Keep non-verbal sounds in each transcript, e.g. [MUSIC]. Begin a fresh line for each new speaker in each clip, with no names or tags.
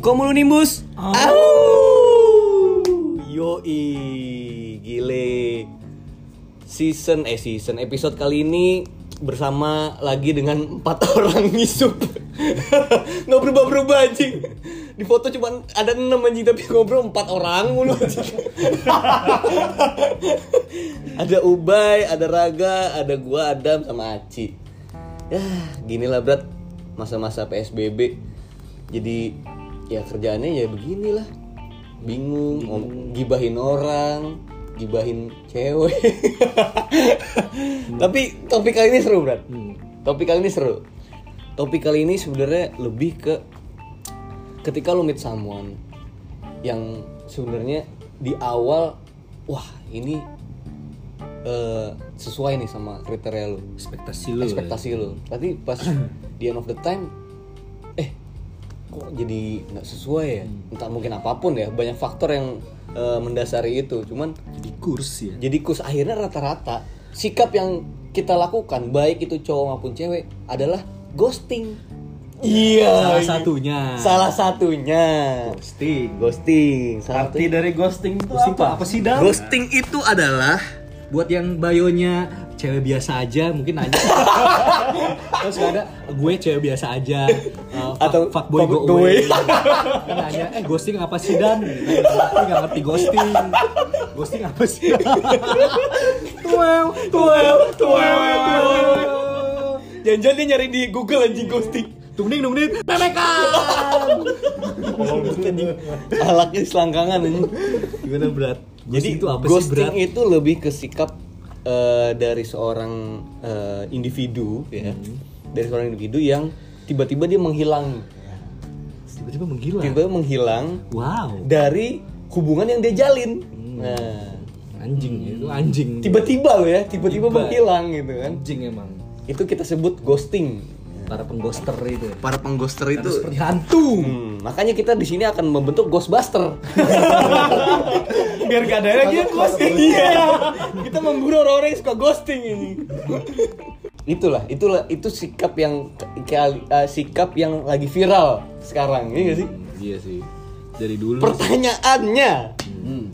Komulonimbus. Au. Yoi, gile. Season eh season episode kali ini bersama lagi dengan empat [LAUGHS] orang ngisup nggak berubah-berubah anjing di foto cuma ada enam anjing tapi ngobrol empat orang mulu anjing ada Ubay, ada Raga, ada gua Adam sama Aci ya ginilah berat masa-masa PSBB jadi ya kerjaannya ya beginilah bingung, ngom- gibahin orang gibahin cewek [LAUGHS] tapi topik kali ini seru berat topik kali ini seru topik kali ini sebenarnya lebih ke ketika lo meet someone yang sebenarnya di awal wah ini eh, sesuai nih sama kriteria lo
ekspektasi lu
ekspektasi lu. Berarti pas di end of the time eh kok jadi nggak sesuai ya? Entah mungkin apapun ya, banyak faktor yang eh, mendasari itu. Cuman
jadi kurs ya
jadi kus akhirnya rata-rata sikap yang kita lakukan baik itu cowok maupun cewek adalah ghosting. Iya.
salah satunya
Salah satunya.
ghosting
Ghosting. Salah
Arti dari ghosting itu
Ghosting
apa?
apa sih dam
Ghosting itu adalah
buat yang bayonya cewek biasa aja mungkin
[LAUGHS]
aja terus nggak ada gue cewek biasa aja uh, fuck-
Atau
fuckboy
Oh, fuck
go
go away.
away Mungkin nanya eh ghosting apa sih dan gue nggak ngerti ghosting ghosting apa sih wow
[LAUGHS] Tuel, tuel, tuel. [LAUGHS] Jangan-jangan dia nyari di Google anjing ghosting.
tungding tungding pemekan
Alaknya selangkangan anjing.
gimana berat
Jadi
Ghosting itu apa sih
ghosting
berat
itu lebih ke sikap eh, dari seorang eh, individu ya.
Hmm.
Dari seorang individu yang tiba-tiba dia menghilang.
tiba-tiba menggila
Tiba-tiba menghilang
wow
dari hubungan yang dia jalin.
Hmm.
Nah,
anjing ya, itu anjing
tiba-tiba loh ya, tiba-tiba
Tiba.
menghilang gitu kan.
anjing emang
Itu kita sebut ghosting.
para penggoster itu
Para penggoster
Karena seperti hantu
Hmm, makanya kita di sini akan membentuk Ghostbuster.
Biar gak ada lagi yang ghosting.
Eh, Iya. Kita memburu orang-orang yang suka ghosting ini. itulah, itulah itu sikap yang kali- eh, sikap yang lagi viral sekarang, ini gak sih?
iya sih dari dulu
Pertanyaannya, Hmm.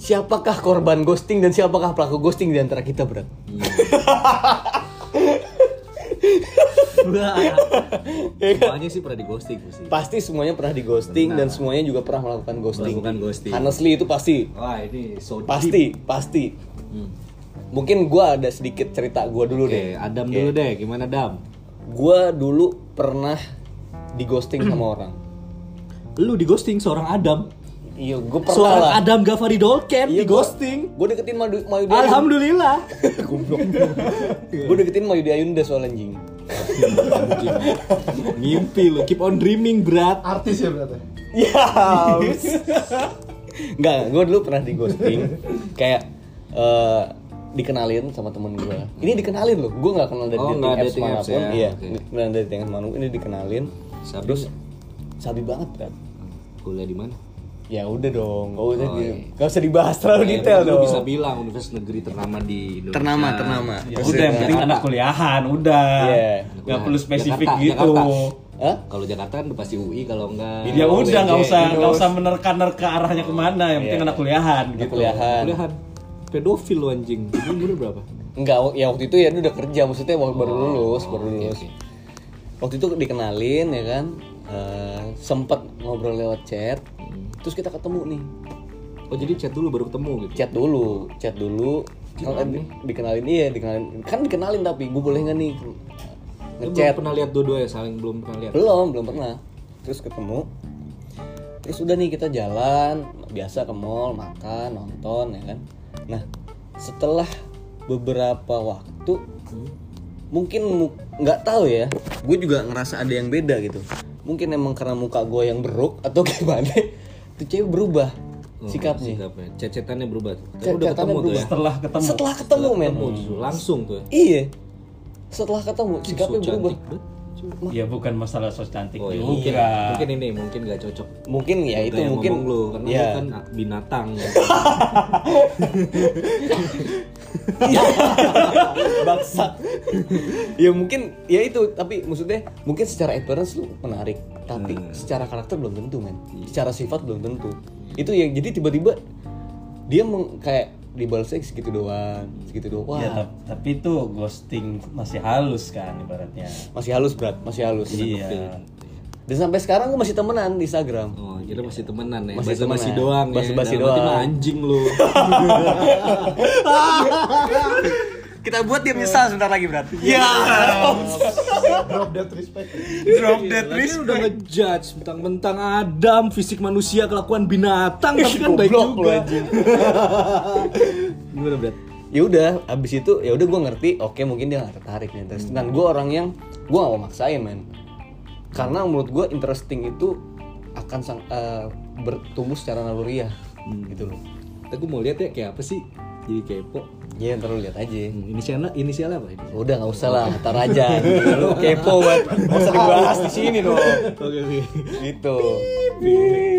siapakah korban ghosting dan siapakah pelaku ghosting di antara kita, Bro?
Iya. [LAUGHS] Semuanya sih pernah di ghosting sih
Pasti semuanya pernah di ghosting dan semuanya juga pernah melakukan ghosting.
Melakukan ghosting.
Honestly itu pasti.
wah ini so deep.
Pasti, pasti.
Hmm.
Mungkin gua ada sedikit cerita gua dulu
oke
deh.
Adam dulu deh gimana Dam
Gua dulu pernah di ghosting [CLEARS THROAT] sama orang.
lu di ghosting seorang Adam
Iya, gue pernah
seorang
lah.
Adam Gafari Dolken di ghosting
Gue deketin Mayu Mayu [LAUGHS]
Alhamdulillah
Gue deketin Mayu Ayunda soal anjing.
Mimpi lu, keep on dreaming berat
Artis ya berarti.
[LAUGHS] Ya. Enggak, gue dulu pernah di ghosting. Kayak eh, dikenalin sama temen gue. Ini dikenalin loh, gue nggak kenal dari
Oh,
dating
nggak
apps
dating apps
manapun.
ya,
Iya,
oke.
nggak kenal dari dating apps manapun. Ini dikenalin.
Sabi
Terus
nggak?
sabi banget kan.
kuliah di mana
Ya udah dong, gak usah,
Oh,
di-
iya.
nggak usah dibahas terlalu
Eh,
detail
lu
dong.
bisa bilang universitas negeri ternama di Indonesia
Ternama, ternama.
Ya udah yang penting anak kuliahan, udah.
Iya.
Gak perlu spesifik
Jakarta,
gitu.
Jakarta.
Hah?
Kalau Jakarta kan udah pasti UI kalau enggak
Ya udah nggak
UNJ.
usah nggak usah menerka-nerka arahnya kemana, yang penting anak kuliahan gitu.
Kuliahan.
Kuliahan. Pedofil lu anjing. Lu umur berapa?
Enggak, ya waktu itu ya dia udah kerja, maksudnya waktu baru lulus, baru
Oh, oke,
lulus.
oke.
Waktu itu dikenalin ya kan, eh, sempet ngobrol lewat chat,
Hmm.
terus kita ketemu nih,
Oh jadi chat dulu baru ketemu gitu.
chat dulu, chat dulu, kalau eh, di- dikenalin iya, dikenalin, kan dikenalin tapi gue boleh nggak nih
Lu
ngechat?
belum pernah lihat dua-duanya, saling belum pernah lihat.
Belum, belum pernah. Terus ketemu, terus udah nih kita jalan, biasa ke mall, makan, nonton ya kan. Nah, setelah beberapa waktu
Hmm.
mungkin mu- nggak tahu ya gue juga ngerasa ada yang beda gitu mungkin emang karena muka gue yang beruk atau [LAUGHS] gimana tuh cewek berubah
Oh,
sikapnya
Sikapnya. Chat-chatannya berubah tuh. Tapi
Chat-
udah
chatannya
ketemu tuh ya.
Setelah ketemu.
setelah ketemu men
Ketemu justru langsung tuh. ya.
iya setelah ketemu sikapnya
So
berubah
cantik banget.
Ya bukan masalah sos cantik
Oh, iya. mungkin,
juga.
mungkin ini mungkin gak cocok
mungkin ya itu
Kayak
mungkin
ngomong lu karena
ya.
lu kan binatang
Baksa. ya mungkin ya itu tapi maksudnya mungkin secara appearance lu menarik tapi secara karakter belum tentu men secara sifat belum tentu itu yang jadi tiba-tiba dia meng, kayak dibalasnya segitu doang segitu doang Wah,
Ya, tap- tapi itu ghosting masih halus kan ibaratnya.
masih halus berat masih halus
Iya.
dan sampai sekarang gue masih temenan di Instagram
oh kita masih temenan ya
Masih
basa-basi
temenan.
doang ya
Basa-basi
Dalam hati
doang.
mah anjing lu
kita buat dia menyesal sebentar lagi berat ya
Drop that respect.
Drop
Lagi Iya, kan udah ngejudge mentang-mentang Adam fisik manusia kelakuan binatang tapi kan baik
Goblok lu,
juga
anjing.
[LAUGHS] gimana Brad?
ya udah abis itu ya udah gue ngerti oke mungkin dia nggak tertarik nih terus dan gue orang yang gue gak mau maksain men karena menurut gue interesting itu akan sang, eh, bertumbuh secara naluriah
Hmm.
gitu loh
Tapi gue mau lihat ya kayak apa sih jadi kepo
ya ntar lu lihat aja Ya
Hmm, inisialnya inisialnya apa ini
udah nggak usah lah ntar
[LAUGHS]
aja gitu. lu kepo banget nggak usah dibahas di sini dong
oke oke
gitu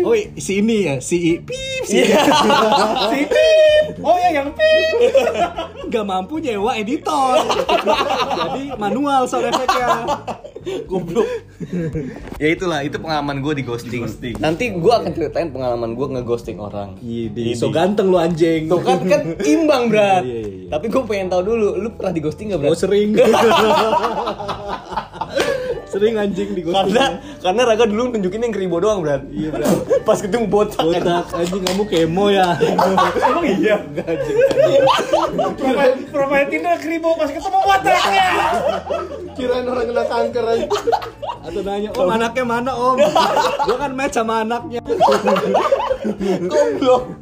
oh i- si ini ya si I- pip [LAUGHS] si
Iya.
Si Pip. Oh ya yang Pip.
nggak mampu nyewa editor jadi manual sound efeknya goblok
ya itulah itu pengalaman gue di ghosting,
Ghosting.
nanti gue akan ceritain pengalaman gue ngeghosting orang
Yidi, so ganteng lu anjing
Tuh kan kan imbang berat.
Iya, iya, iya.
Tapi gue pengen tahu dulu, lu pernah di ghosting gak
oh
berat?
[LAUGHS]
sering sering anjing di
karena karena Raga dulu nunjukin yang keribo doang berat. Iya berat. [LAUGHS] Pas ketemu botak.
botak anjing kamu kemo ya
Emang iya. Profil profil Tinder kribo pas ketemu watak.
Kirain orang kena kanker aja.
atau nanya om anaknya mana om gua kan match sama anaknya
Goblok.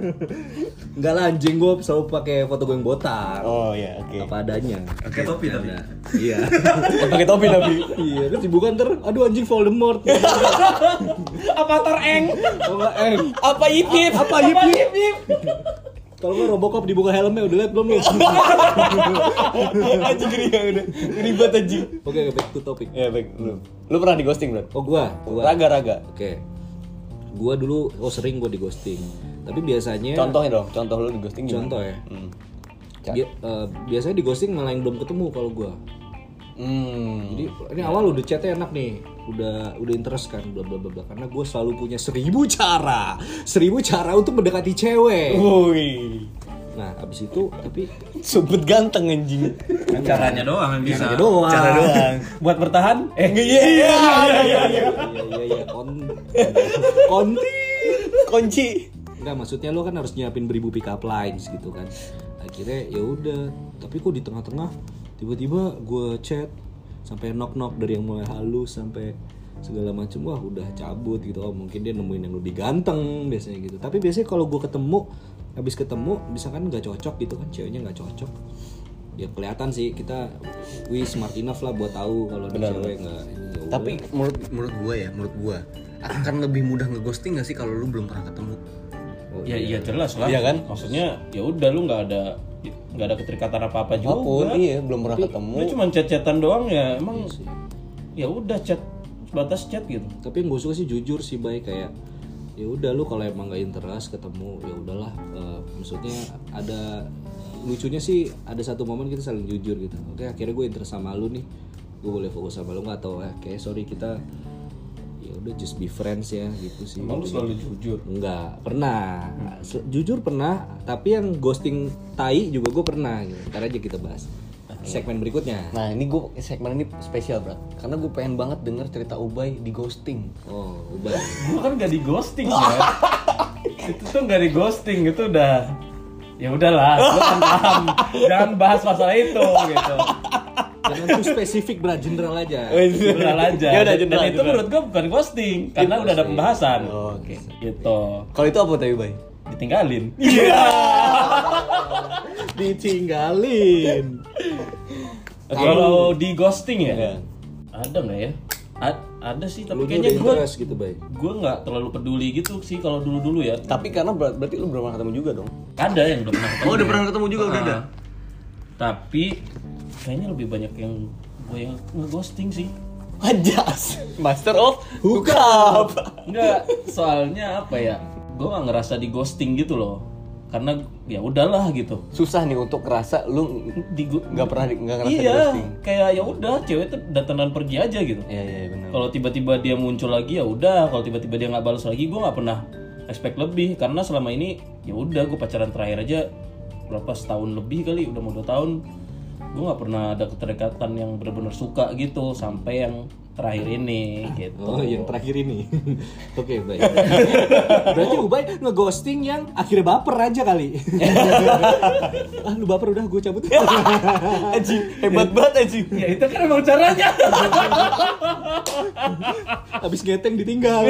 Enggak lah anjing gue selalu pakai foto gue yang botak
Oh iya, oke.
apa adanya
Oke topi tapi.
Nah, iya
[LAUGHS]
Pakai topi tapi.
iya terus dibuka ntar aduh anjing Voldemort
Avatar Eng.
oh enggak eh
Apa ipip?
apa yip yip kalau nggak Robocop dibuka helmnya udah liat belum lu
[LAUGHS] Anjing gini ya udah. Gini banget anjing.
oke back to topic
Ya baik, lu. Lu pernah di ghosting berat?
oh gua gua
Raga raga.
oke gua dulu oh sering gua di ghosting tapi biasanya
Contohnya dong, Iya. contoh lu di ghosting gimana?
contoh ya
Hmm.
Bi- eh, biasanya di ghosting malah yang belum ketemu kalau gua
Hmm.
Jadi ini awal udah chatnya enak nih, udah udah interest kan, bla bla bla bla. Karena gue selalu punya seribu cara, seribu cara untuk mendekati cewek.
Woi.
Nah abis itu tapi
Sumpet ganteng anjing.
Kan Caranya doang yang bisa.
caranya doang.
Cara doang. Buat bertahan? Eh
Iya iya iya.
Iya iya iya kon konti.
Kunci.
Enggak maksudnya lo kan harus nyiapin beribu pick up lines gitu kan. Akhirnya ya udah, tapi kok di tengah-tengah tiba-tiba gue chat sampai knock knock dari yang mulai halus sampai segala macem wah udah cabut gitu oh mungkin dia nemuin yang lebih ganteng biasanya gitu tapi biasanya kalau gue ketemu habis ketemu misalkan nggak cocok gitu kan ceweknya nggak cocok ya kelihatan sih kita we smart enough lah buat tahu kalau ini cewek nggak ini, ya udah.
Tapi menurut menurut gue ya, menurut gue akan lebih mudah ngeghosting gak sih kalau lu belum pernah ketemu?
ya iya jelas lah.
Iya kan?
Maksudnya ya udah lu nggak ada nggak ada keterikatan apa apa
Apapun,
juga.
iya belum pernah ketemu. Iya
Lu cuma chat-chatan doang ya. Emang ya udah chat batas chat gitu.
tapi yang gue suka sih jujur sih baik kayak ya udah lu kalau emang nggak interest ketemu ya udahlah Eh, maksudnya ada lucunya sih ada satu momen kita saling jujur gitu oke akhirnya gue interest sama lu nih gue boleh fokus sama lu nggak atau eh kayak sorry kita ya udah just be friends ya gitu sih
Emang lu selalu Hmm. jujur.
Enggak, pernah. Se- Jujur pernah, tapi yang ghosting tai juga gue pernah gitu. Ntar aja kita bahas. Segmen berikutnya.
Nah ini gue segmen ini spesial berat karena gue pengen banget denger cerita Ubay di ghosting.
Oh, ubah.
Gua kan gak di ghosting ya.
[LAUGHS]
itu tuh gak di ghosting itu udah ya udahlah gua
[LAUGHS]
kan paham jangan bahas masalah itu gitu
Jangan tuh spesifik, Bra, general aja.
Oh, iya, general aja
Ya udah,
Dan-
general,
dan itu
general.
menurut gua bukan ghosting karena udah ada pembahasan
Oh, Oke.
gitu
Kalau itu apa tadi Ubay? [LAUGHS]
ditinggalin
Ditinggalin.
kalau di ghosting ya
Iya.
ada nggak ya A- ada sih tapi
Lu
kayaknya
kayaknya
gua
interest gitu, Bay.
gua nggak terlalu peduli gitu sih kalau dulu dulu ya
Tapi karena ber- berarti lu belum pernah ketemu juga
[LAUGHS]
dong.
ada yang udah pernah ketemu ya.
Oh, ketemu
Ah. Tapi kayaknya lebih banyak yang gue yang ngeghosting sih.
Anjas. Master of Hookup.
Enggak, [LAUGHS] soalnya apa ya? Gue gak ngerasa di ghosting gitu loh. Karena ya udahlah gitu.
[LAUGHS] Susah nih untuk ngerasa lu
Di gu-
nggak pernah di- nggak ngerasa di
iya,
ghosting.
kayak ya udah cewek tuh datangan pergi aja gitu.
Iya iya
[LAUGHS]
benar.
Kalau tiba-tiba dia muncul lagi ya udah, kalau tiba-tiba dia nggak balas lagi gue nggak pernah expect lebih karena selama ini ya udah gue pacaran terakhir aja berapa setahun lebih kali udah mau dua tahun gue nggak pernah ada keterikatan yang benar-benar suka gitu sampai yang terakhir ini
Ah.
gitu
Oh,
iya.
yang terakhir ini. [LAUGHS] Oke, baik. Berarti Ubay ngeghosting yang akhirnya baper aja kali. ah, lu baper udah gue cabut.
Aji, hebat banget Aji.
ya itu kan emang caranya
Habis ngeteng ditinggal.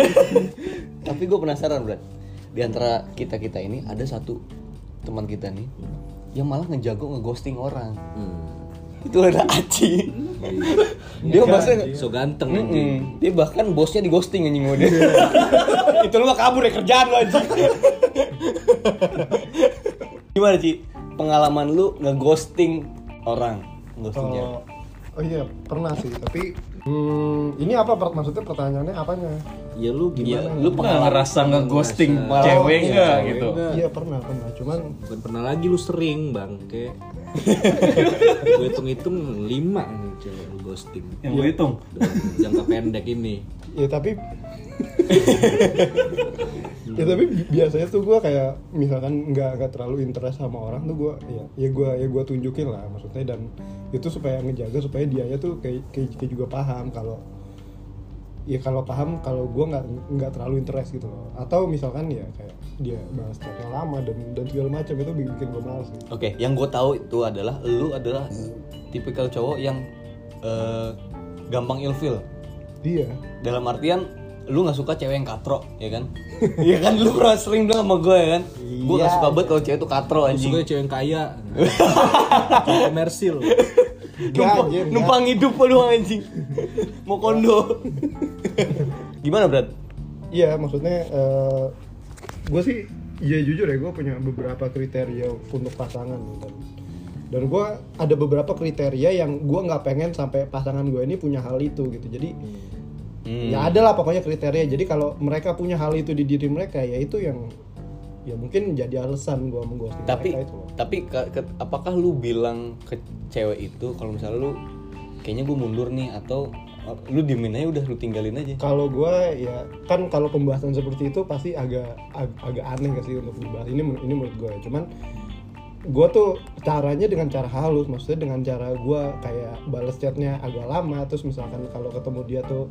Tapi gue penasaran, Brad. Di antara kita-kita ini ada satu teman kita nih yang malah ngejago ngeghosting orang. Itu ada Aci. Iya. dia bahkan
so ganteng anjing.
Mm-mm. Iya, dia bahkan bosnya di ghosting anjing sama dia. [LAUGHS] Itu lu mah kabur ya kerjaan lu anjing. Gimana, Ci? Pengalaman lu ngeghosting orang, ghosting cewek.
Kalau- oh iya pernah sih tapi hmm, ini apa Pert? maksudnya pertanyaannya apanya
Ya lu
Iya,
gimana?
lu
lu pernah ngerasa nggak ghosting
Ngerasa. Iya,
cewek nggak
cewek
gitu
nggak.
iya pernah pernah cuman
Bukan pernah lagi lu sering, bangke. gue hitung-hitung lima nih cewek lu ghosting.
yang
Iya.
gue hitung
Dalam jangka pendek ini.
ya tapi ya tapi bi- biasanya tuh gue kayak misalkan nggak nggak terlalu interest sama orang tuh gue ya ya gue ya gua tunjukin lah maksudnya dan itu supaya ngejaga supaya dia tuh kayak kayak kayak juga paham kalau ya kalau paham kalau gue nggak nggak terlalu interest gitu loh atau misalkan ya kayak dia bahas chatnya lama dan dan segala macam itu bikin, bikin gue males sih
Oke, yang gue tahu itu adalah lu adalah tipikal cowok yang eh, gampang ilfil.
dia
Dalam artian lu nggak suka cewek yang katrok, ya kan? Iya kan lu pernah sering bilang sama gue ya kan? Gue
Iya.
nggak suka banget kalau cewek itu katro
Lu
anjing.
Suka cewek yang kaya. Komersil.
Numpang,
Gak, Jim,
numpang hidup lu anjing. Mau kondo. Gimana, Brad?
Iya, maksudnya gue sih, ya jujur ya gue punya beberapa kriteria untuk pasangan dan dan gue ada beberapa kriteria yang gue nggak pengen sampai pasangan gue ini punya hal itu gitu. Jadi ya ada lah pokoknya kriteria. Jadi kalau mereka punya hal itu di diri mereka, ya itu yang ya mungkin jadi alasan gue mengghosting
tapi
mereka itu. loh.
tapi ke- ke- apakah lu bilang ke cewek itu kalau misalnya lu kayaknya gue mundur nih atau uh, lu diemin aja udah lu tinggalin aja
Kalau gue ya kan kalau pembahasan seperti itu pasti agak ag- agak aneh gak sih untuk dibahas. Ini men- ini menurut gue. Cuman gue tuh caranya dengan cara halus, maksudnya dengan cara gue kayak balas chatnya agak lama. Terus misalkan kalau ketemu dia tuh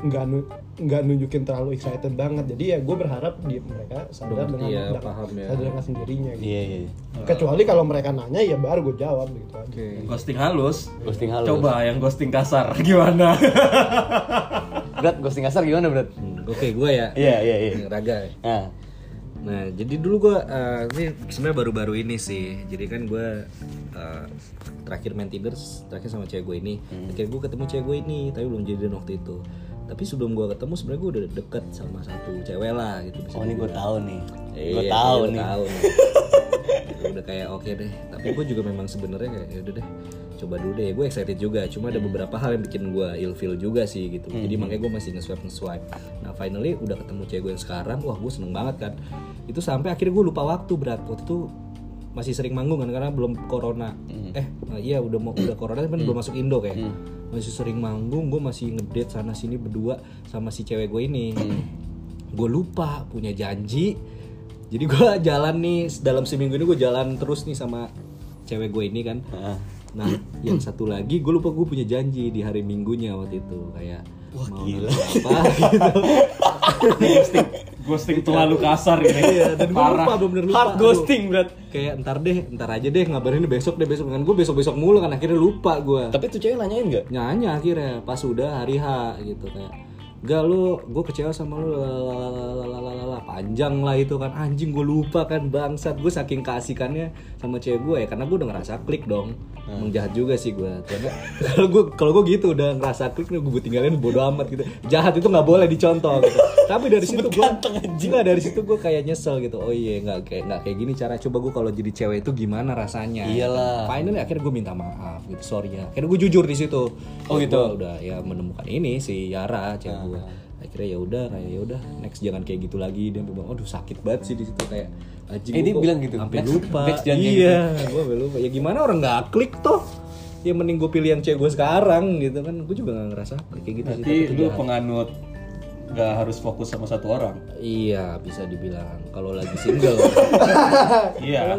nggak nu- nggak nunjukin terlalu excited banget. Jadi ya gue berharap dia mereka sadar
Mengerti
dengan,
ya,
dengan-
paham ya.
sadar dengan sendirinya. Gitu.
iya iya iya.
Kecuali kalau mereka nanya ya baru gue jawab gitu aja.
Oke.
ghosting halus
ghosting halus
coba yang ghosting kasar [LAUGHS] gimana
Brad ghosting kasar gimana Brad
Hmm, Oke, gue ya.
iya iya iya
Raga. ya.
nah
Nah, jadi dulu gue ini sebenarnya baru-baru ini sih. Jadi kan gue terakhir main Tinder, terakhir sama cewek gue ini.
Hmm.
Akhirnya gue ketemu cewek gue ini, tapi belum jadian waktu itu. Tapi sebelum gue ketemu sebenarnya gue udah deket sama satu cewek lah gitu. Bisa
oh ini gue
dibilang.
tahu nih
Iya,
gue tahu
iya,
nih
tahu nih.
[LAUGHS]
Ya udah kayak oke deh tapi gue juga memang sebenarnya kayak ya udah deh coba dulu deh gue excited juga cuma ada beberapa hal yang bikin gue ilfeel juga sih gitu jadi makanya gue masih nge-swipe nge-swipe nah finally udah ketemu cewek gue yang sekarang wah gue seneng banget kan itu sampai akhirnya gue lupa waktu berat waktu itu masih sering manggung kan karena belum corona eh iya udah mau udah corona tapi kan belum masuk indo kayak masih sering manggung gue masih ngedate sana sini berdua sama si cewek gue ini gue lupa punya janji jadi gua [LAUGHS] jalan nih dalam seminggu ini gue jalan terus nih sama cewek gue ini kan
Heeh.
nah yang satu lagi gue lupa gue punya janji di hari minggunya waktu itu kayak
Wah,
mau
gila.
nonton apa [LAUGHS] gitu
ghosting ghosting terlalu kasar ini
[LAUGHS] iya dan gue lupa bener lupa
hard ghosting Brad
Aduh, kayak ntar deh ntar aja deh ngabarin besok deh besok kan gue besok besok mulu kan akhirnya lupa gue
tapi tuh cewek nanyain nggak
nyanyi akhirnya pas udah hari H gitu kayak Gak lu, gue kecewa sama lu lalalalalalala. Panjang lah itu kan Anjing gue lupa kan bangsat Gue saking keasikannya sama cewek gue ya Karena gue udah ngerasa klik dong Emang jahat juga sih gue Karena [LAUGHS] kalau gue kalau gue gitu udah ngerasa klik nih gue tinggalin bodo amat gitu Jahat itu gak boleh dicontoh gitu. Tapi dari situ gue Enggak dari situ gue kayak nyesel gitu Oh iya gak kayak, nggak kayak gini cara Coba gue kalau jadi cewek itu gimana rasanya
Iyalah.
Finally akhirnya gue minta maaf gitu Sorry ya Akhirnya gue jujur di situ Oh gitu Udah ya menemukan ini si Yara cewek
Ah.
gue Akhirnya ya udah kayak ya udah next jangan kayak gitu lagi dia sampai bilang aduh sakit banget sih di situ kayak anjing
Eh,
gua
dia
kok
bilang gitu,
sampai
"Next-
lupa
next jangan kayak gitu.
iya gue sampai lupa ya gimana orang nggak klik toh ya mending gue pilih yang cewek gue sekarang gitu kan gue juga nggak ngerasa kayak
Nah,
gitu sih
Berarti
tapi
lu
jahat.
penganut gak harus fokus sama satu orang.
Iya bisa dibilang kalau lagi [LAUGHS] single.
Iya.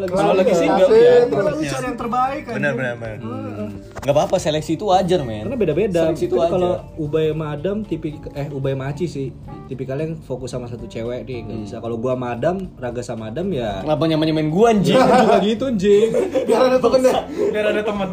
Kalau lagi iya.
Kalau lagi single
Asik,
ya.
kalau bisa yang terbaik kan.
benar benar benar nggak apa apa seleksi itu wajar men
Karena beda-beda.
seleksi itu
Kan
wajar
kalau Ubay sama Adam tipik eh Ubay sama Aci sih tipikalnya yang fokus sama satu cewek nih nggak bisa. Kalau gua sama Adam, Raga sama Adam [LAUGHS] ya
kenapa nyaman nyamain gua anjing
Gua juga gitu anjing.
Biar ada
ya.
Iya,
tokennya.
Biar ada temen.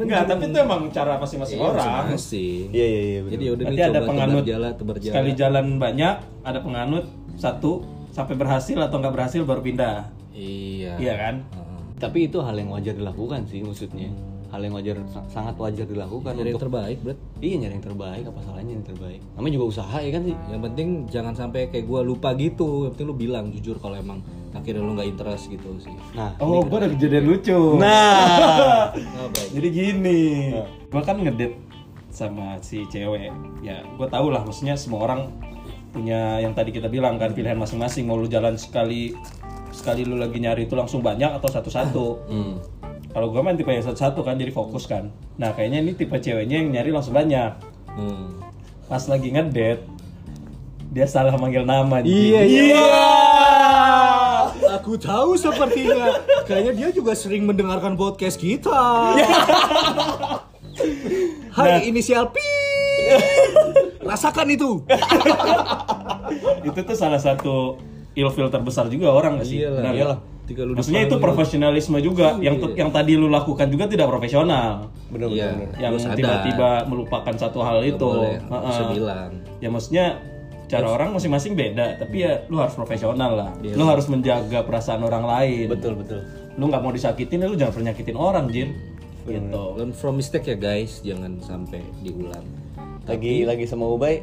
Enggak, tapi itu emang cara
Iya,
masing-masing orang.
Masih.
iya iya iya
Jadi
benar
udah nih
Berarti ada
coba
penganut
tebar jala, tebar jala.
Sekali jalan banyak, ada penganut satu sampai berhasil atau nggak berhasil baru pindah.
Iya.
Iya kan?
Heeh.
tapi itu hal yang wajar dilakukan sih maksudnya hal yang wajar sa- sangat wajar dilakukan
Dari yang
untuk
terbaik, Bret.
iya nyari yang terbaik apa salahnya yang terbaik namanya juga usaha ya kan sih
Yang penting jangan sampai kayak gua lupa gitu. Yang penting lu bilang jujur kalau emang akhirnya lu nggak interest gitu sih.
nah
Oh, gue ada kejadian lucu. [LAUGHS] Oh,
nah
Apa ya?
Jadi gini, gue kan ngedit sama si cewek. Ya, gue tau lah. Maksudnya semua orang punya yang tadi kita bilang kan pilihan masing-masing. Mau lu jalan sekali, sekali lu lagi nyari itu langsung banyak atau satu-satu. Kalau gue main tipe yang satu-satu kan, jadi fokus kan. Nah, kayaknya ini tipe ceweknya yang nyari langsung banyak.
Hmm.
Pas lagi ngedate, dia salah manggil nama. anjing.
Iya, iya. Aku tahu sepertinya. Kayaknya dia juga sering mendengarkan podcast kita. [LAUGHS] Hai, inisial P. Rasakan itu.
itu tuh salah satu ilfil terbesar juga orang nggak sih.
Iyalah,
Benar nggak?
Iya iyalah. Tiga lu
Maksudnya itu
dipanggil.
profesionalisme juga yang tu- yang tadi lu lakukan juga tidak profesional.
benar
Iya,
benar
Yang
lu sadar.
tiba-tiba melupakan satu hal
Nggak
itu.
boleh, nggak
Heeh.
bisa bilang.
Ya maksudnya cara orang masing-masing beda, tapi ya lu harus profesional lah.
Iya
Lu harus menjaga perasaan orang lain.
betul betul
Lu nggak mau disakitin, ya lu jangan pernah nyakitin orang, Jin. Gitu.
Learn from mistake ya guys, jangan sampai diulang.
lagi lagi sama Ubay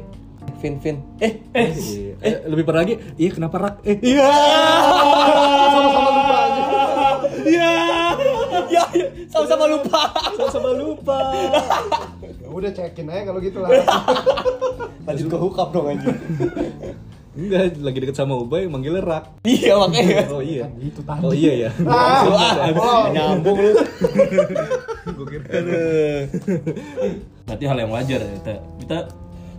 Fin Fin eh
Eh, eh, lebih parah lagi, iya kenapa rak? Eh, iya.
Sama-sama lupa aja.
Iya.
ya sama-sama lupa
Sama lupa.
Ya Udah cekin aja kalau gitu lah.
lanjut ke hookup dong anjing
Enggak, lagi deket sama Ubay, manggilnya rak.
iya makanya
Oh iya.
Itu tadi.
Oh iya ya.
Ah, oh.
nyambung lu
gitu. Berarti hal yang wajar ya. Kita, kita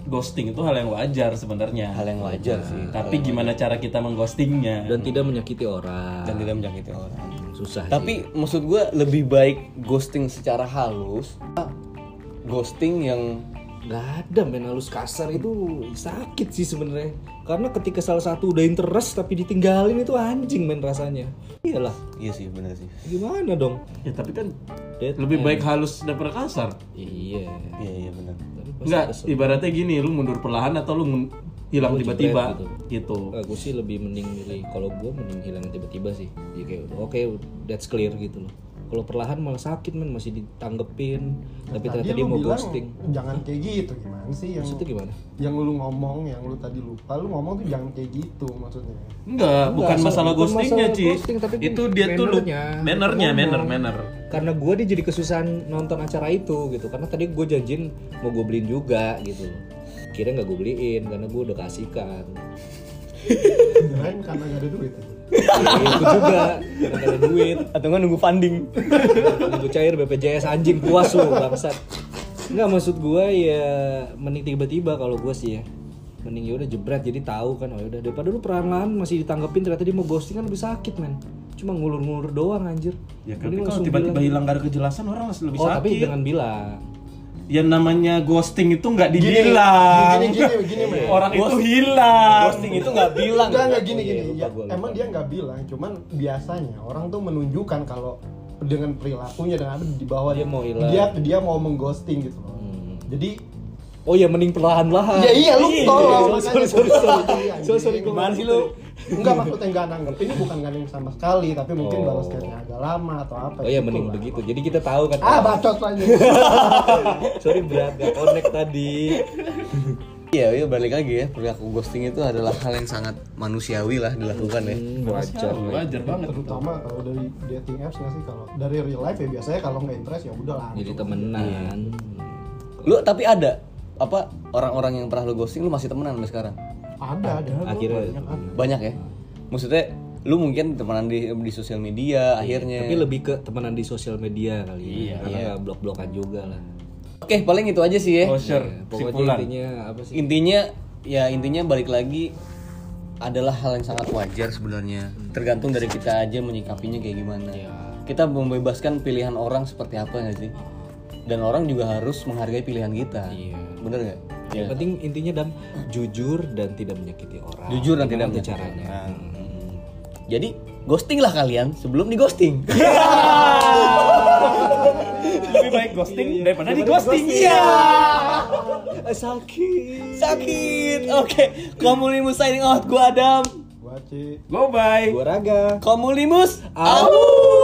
ghosting itu hal yang wajar sebenarnya.
hal yang wajar sih
Tapi gimana cara kita mengghostingnya?
Dan tidak menyakiti orang.
dan tidak menyakiti orang
Susah. sih.
Tapi maksud gue lebih baik ghosting secara halus, ghosting yang
nggak ada men halus kasar itu sakit sih sebenarnya karena ketika salah satu udah interest tapi ditinggalin itu anjing men rasanya iyalah
iya sih bener sih.
gimana dong
Ya tapi kan
Dead
lebih baik halus daripada kasar.
iya
Iya iya bener.
tapi pas
Enggak, ibaratnya gini, lu mundur perlahan atau lu mun- hilang tiba-tiba gitu.
aku sih lebih mending milih kalau gue mending hilang tiba-tiba sih ya kayak udah, oke that's clear gitu loh kalau perlahan malah sakit men masih ditanggepin [LAUGHS] tapi ternyata dia
lu
mau
bilang,
ghosting
Jangan kayak gitu gimana sih yang
maksudnya gimana
yang lu ngomong, yang lu tadi lupa, lu ngomong tuh jangan kayak gitu maksudnya.
Enggak, bukan
so-
masalah
bukan
ghostingnya,
masalah
Ci.
ghosting, tapi
itu dia tuh lu
mannernya.
mannernya, manner, manner.
karena gue dia jadi kesusahan nonton acara itu gitu karena tadi gue janjin mau gue beliin juga gitu kira nggak gue beliin karena gue udah kasihkan
Kirain karena gak ada duit. aja.
itu juga karena nggak ada duit
Atau nggak nunggu funding?
itu cair BPJS anjing puas lu bangsat nggak maksud gue ya mending tiba-tiba kalau gue sih ya mending ya udah jebret jadi tahu kan oh udah daripada lu perlahan masih ditanggepin ternyata dia mau ghosting kan lebih sakit men cuma ngulur-ngulur doang anjir
Ya tapi
Mending
kalau
langsung
tiba-tiba
bilang.
hilang gak ada kejelasan orang masih lebih
oh tapi
sakit.
dengan bilang
Yang namanya ghosting itu nggak
Gini,
dibilang.
Gini gini gini, men.
[LAUGHS] Orang itu hilang.
Ghosting itu nggak bilang.
Enggak enggak gini
Oh, iya,
gini.
lupa,
Ya,
gua lupa.
emang dia nggak bilang, cuman biasanya orang tuh menunjukkan kalau dengan perilakunya dengan apa di bawah
Dia mau hilang. Hmm.
Dia dia mau mengghosting gitu loh. Jadi
Oh ya mending perlahan-lahan.
Ya iya lu tolong.
Sorry
makanya
sorry
gua-
sorry.
Iya,
Sorry sorry.
anjing.
gua
Gimana sih lu?
Enggak maksudnya nggak nanggep. Ini bukan gandeng sama sekali, tapi mungkin
Oh.
balasnya agak lama atau apa.
Oh ya
gitu
mending
lah.
begitu. Jadi kita tahu kan.
Ah, bacot lagi.
sorry berat gak connect tadi.
Iya, iya balik lagi ya perilaku ghosting itu adalah hal yang sangat manusiawi lah dilakukan ya.
Hmm, wajar.
Wajar, wajar banget. gitu.
Terutama kalau dari dating apps nggak sih kalau dari real life ya biasanya kalau nggak interest ya udah lah.
Iya.
Jadi temenan.
Lu tapi ada apa orang-orang yang pernah lu ghosting lu masih temenan sampai sekarang?
Ada ada.
Akhirnya
Banyak ya. Maksudnya lu mungkin temenan di di sosial media akhirnya.
Iya. tapi lebih ke temenan di sosial media
Iya,
kali ya. Karena nggak blok-blokan juga lah.
Oke, paling itu aja
Eh,
sih ya.
Closure,
Ya, pokoknya
simpulan.
intinya apa sih?
intinya ya intinya balik lagi adalah hal yang sangat wajar sebenarnya tergantung dari kita aja menyikapinya kayak gimana
Iya.
kita membebaskan pilihan orang seperti apa nggak sih dan orang juga harus menghargai pilihan kita bener nggak Iya.
Yang penting intinya dan jujur dan tidak menyakiti orang.
Jujur dan tidak
Gimana tuh
menyakiti
caranya. Hmm.
jadi ghosting lah kalian sebelum di ghosting
Lebih baik ghosting
iya.
daripada di ghosting. Iya.
Hmm. Eh, Sakit.
sakit oke komulimus signing out gua Adam
Gua Ci.
Go bye.
Gua raga.
komulimus
Au.
out